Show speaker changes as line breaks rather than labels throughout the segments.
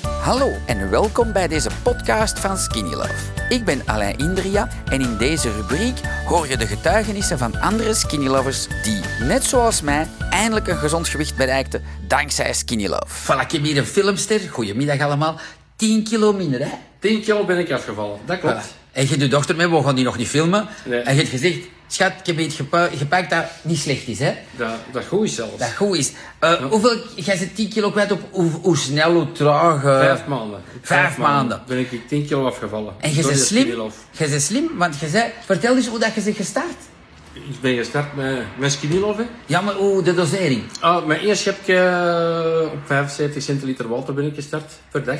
Hallo en welkom bij deze podcast van Skinny Love. Ik ben Alain Indria en in deze rubriek hoor je de getuigenissen van andere Skinny Lovers die, net zoals mij, eindelijk een gezond gewicht bereikten dankzij Skinny Love. Voilà, ik heb hier een filmster. Goedemiddag allemaal. 10 kilo minder, hè?
10 kilo ben ik afgevallen, dat klopt.
En je de dochter mee, we gaan die nog niet filmen.
Nee.
En je hebt gezegd, schat, ik heb iets gepa- gepakt dat niet slecht is, hè?
Dat, dat goed is zelfs.
Dat goed is. Eh, Hoeveel, jij zit 10 kilo kwijt op hoe, hoe snel, hoe traag. eh.
Vijf maanden.
Vijf maanden.
Ben ik 10 kilo afgevallen.
En je
Door
bent
dat
slim.
kilo.
Je bent slim, want je zei, vertel eens hoe dat je bent gestart.
Ik ben gestart met, met skinnylof. hè.
Ja, maar hoe de dosering.
Ah, mijn eerste schepje eh, op 75 centiliter water ben ik gestart per dag.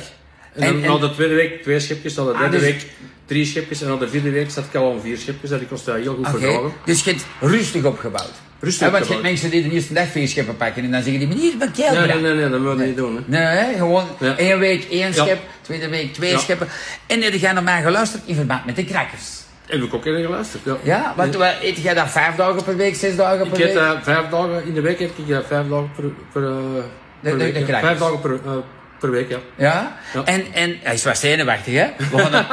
En,
En-
dan
en-
na de tweede week twee schepjes, na de derde
dus-
week drie schepjes en na de vierde week zat ik al aan vier schepjes. Dat kost dat heel goed
Oké,
verdragen.
dus je hebt rustig opgebouwd.
Rustig
Ja, want je
opgebouwd.
hebt mensen die de eerste dag vier scheppen pakken en dan zeggen die, maar hier is mijn keil
Nee,
brak."
nee, nee, nee, dat moet je niet doen. Hè.
Nee, hè, gewoon
Ja.
één week één
Ja.
schep, tweede week twee
Ja.
scheppen. En heb jij naar mij geluisterd in verband met de krakkers.
Heb ik ook eerder geluisterd. Ja.
Ja, want wat, eet jij dat vijf dagen per week, zes dagen per
Ik heb
week?
eh, vijf dagen in de week, heb ik eh, vijf dagen per, per, eh, per
de-
week.
de
ja.
krakers.
vijf dagen per, eh, per week, ja.
Ja?
Ja.
En, en hij is wat zenuwachtig, hè? We gaan dat-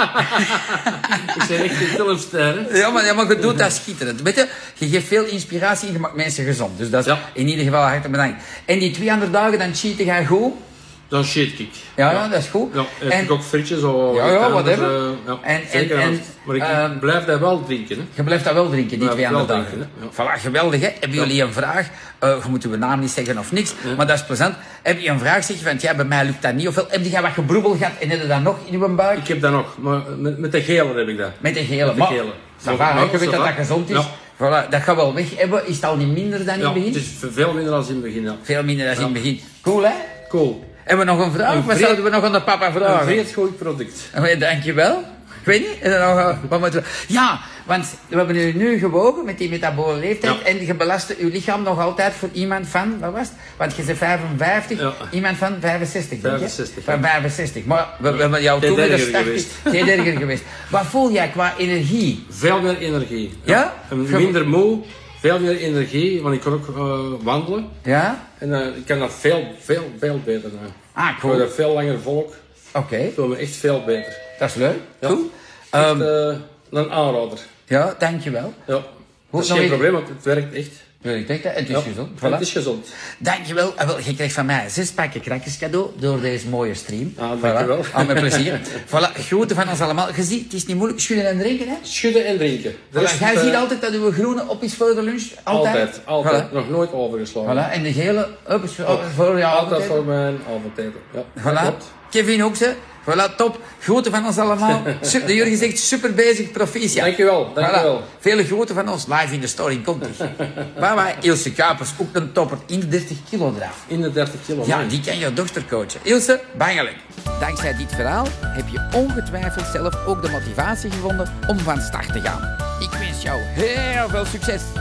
Ik ben echt een filmster. hè.
Ja, maar, ja, maar je doet dat schitterend. Weet je, je geeft veel inspiratie en je maakt mensen gezond. Dus dat is
Ja.
in ieder geval hartelijk bedankt. En die 200 dagen, dan cheaten gaan goed.
Dan shit ik.
Ja, ja, dat is goed.
Ja, heb
en
ik ook frietjes al dus, eh,
Ja, ja, whatever.
ja,
En-
zeker
en-
en,
en,
Maar ik
ehm,
blijf dat wel drinken. Hè.
je blijft dat wel drinken, die
Ja,
200
wel
dagen.
drinken,
Voilà, geweldig, hè? Hebben jullie een vraag? Eh je moet uw naam niet zeggen of niks, maar dat is plezant. Heb je een vraag, zeg je, want ja, bij mij lukt dat niet. Ofwel, heb je wat gebroebel gehad en heb je dat nog in uw buik?
Ik heb dat nog, maar met, met de gele heb ik dat.
Met de gele.
de gele.
Maar, ça va, hè, je
Ja,
weet
ça
dat
va.
dat gezond is.
Ja.
Voilà, dat gaat wel weg hebben. Is het al niet minder dan in
Ja,
het begin?
het is veel minder dan in het begin. Ja.
Veel minder dan in het begin. Cool, hè?
Cool.
Hebben we nog een vraag?
Een
Wat
vreed-
zouden we nog aan de papa
Een
vragen?
vreed goed product.
Eh, Dankjewel. Ik weet niet. en dan nog, eh, wat moeten we- Ja, want we hebben u nu gewogen met die metabole leeftijd.
Ja.
En je belastte uw lichaam nog altijd voor iemand van, wat was het? Want je bent 55,
Ja.
iemand van 65. denk je?
65,
Van 65. Maar we, we hebben jou
Geen
toen met de
dertiger
80
geweest.
geen dertiger geweest. Wat voel jij qua energie?
Veel meer energie.
Ja?
En Minder moe, veel meer energie, want ik kan ook eh, wandelen.
Ja?
En eh, ik kan dat veel, veel, veel beter. doen.
Ah,
Ik
cool.
word
Oké,
er veel langer volk. Ik voel me echt veel beter.
dat is leuk. Cool.
Echt,
Ehm,
eh, een aanrader.
ja, dankjewel.
Ja. Dat
nog
is geen
iets?
probleem, want het werkt echt.
Wil ik denken, het is
Ja.
gezond. Voilà.
Het is gezond.
Dankjewel. Ah, wel, je krijgt van mij zes pakken krakjes cadeau door deze mooie stream.
Ah, dankjewel.
Voilà. Al mijn plezier. voilà, groeten van ons allemaal. Je ziet, het is niet moeilijk. Schudden en drinken, hè?
Schudden en drinken. De
Voilà,
rest,
jij
eh,
ziet altijd dat uw groene op is voor de lunch. Altijd.
Altijd, altijd.
Voilà.
Nog nooit overgeslagen.
Voilà, En de gele up is voor, voor jou.
Altijd
altijd.
voor mijn avondeten. Ja, dat
Voilà.
klopt.
Kevin ook, ze. Voilà, top. Groeten van ons allemaal. Sup- De Jurgen zegt super bezig, proficiat.
Dankjewel, dankjewel.
Voilà. Vele groeten van ons. Live in de story, komt ie. Bye bye. Ilse Kapers, ook een topper. In de 30 kilo draaf.
In de 30 kilo.
Ja,
man.
die kan je dochter coachen. Ilse, bangelijk. Dankzij dit verhaal heb je ongetwijfeld zelf ook de motivatie gevonden om van start te gaan. Ik wens jou heel veel succes.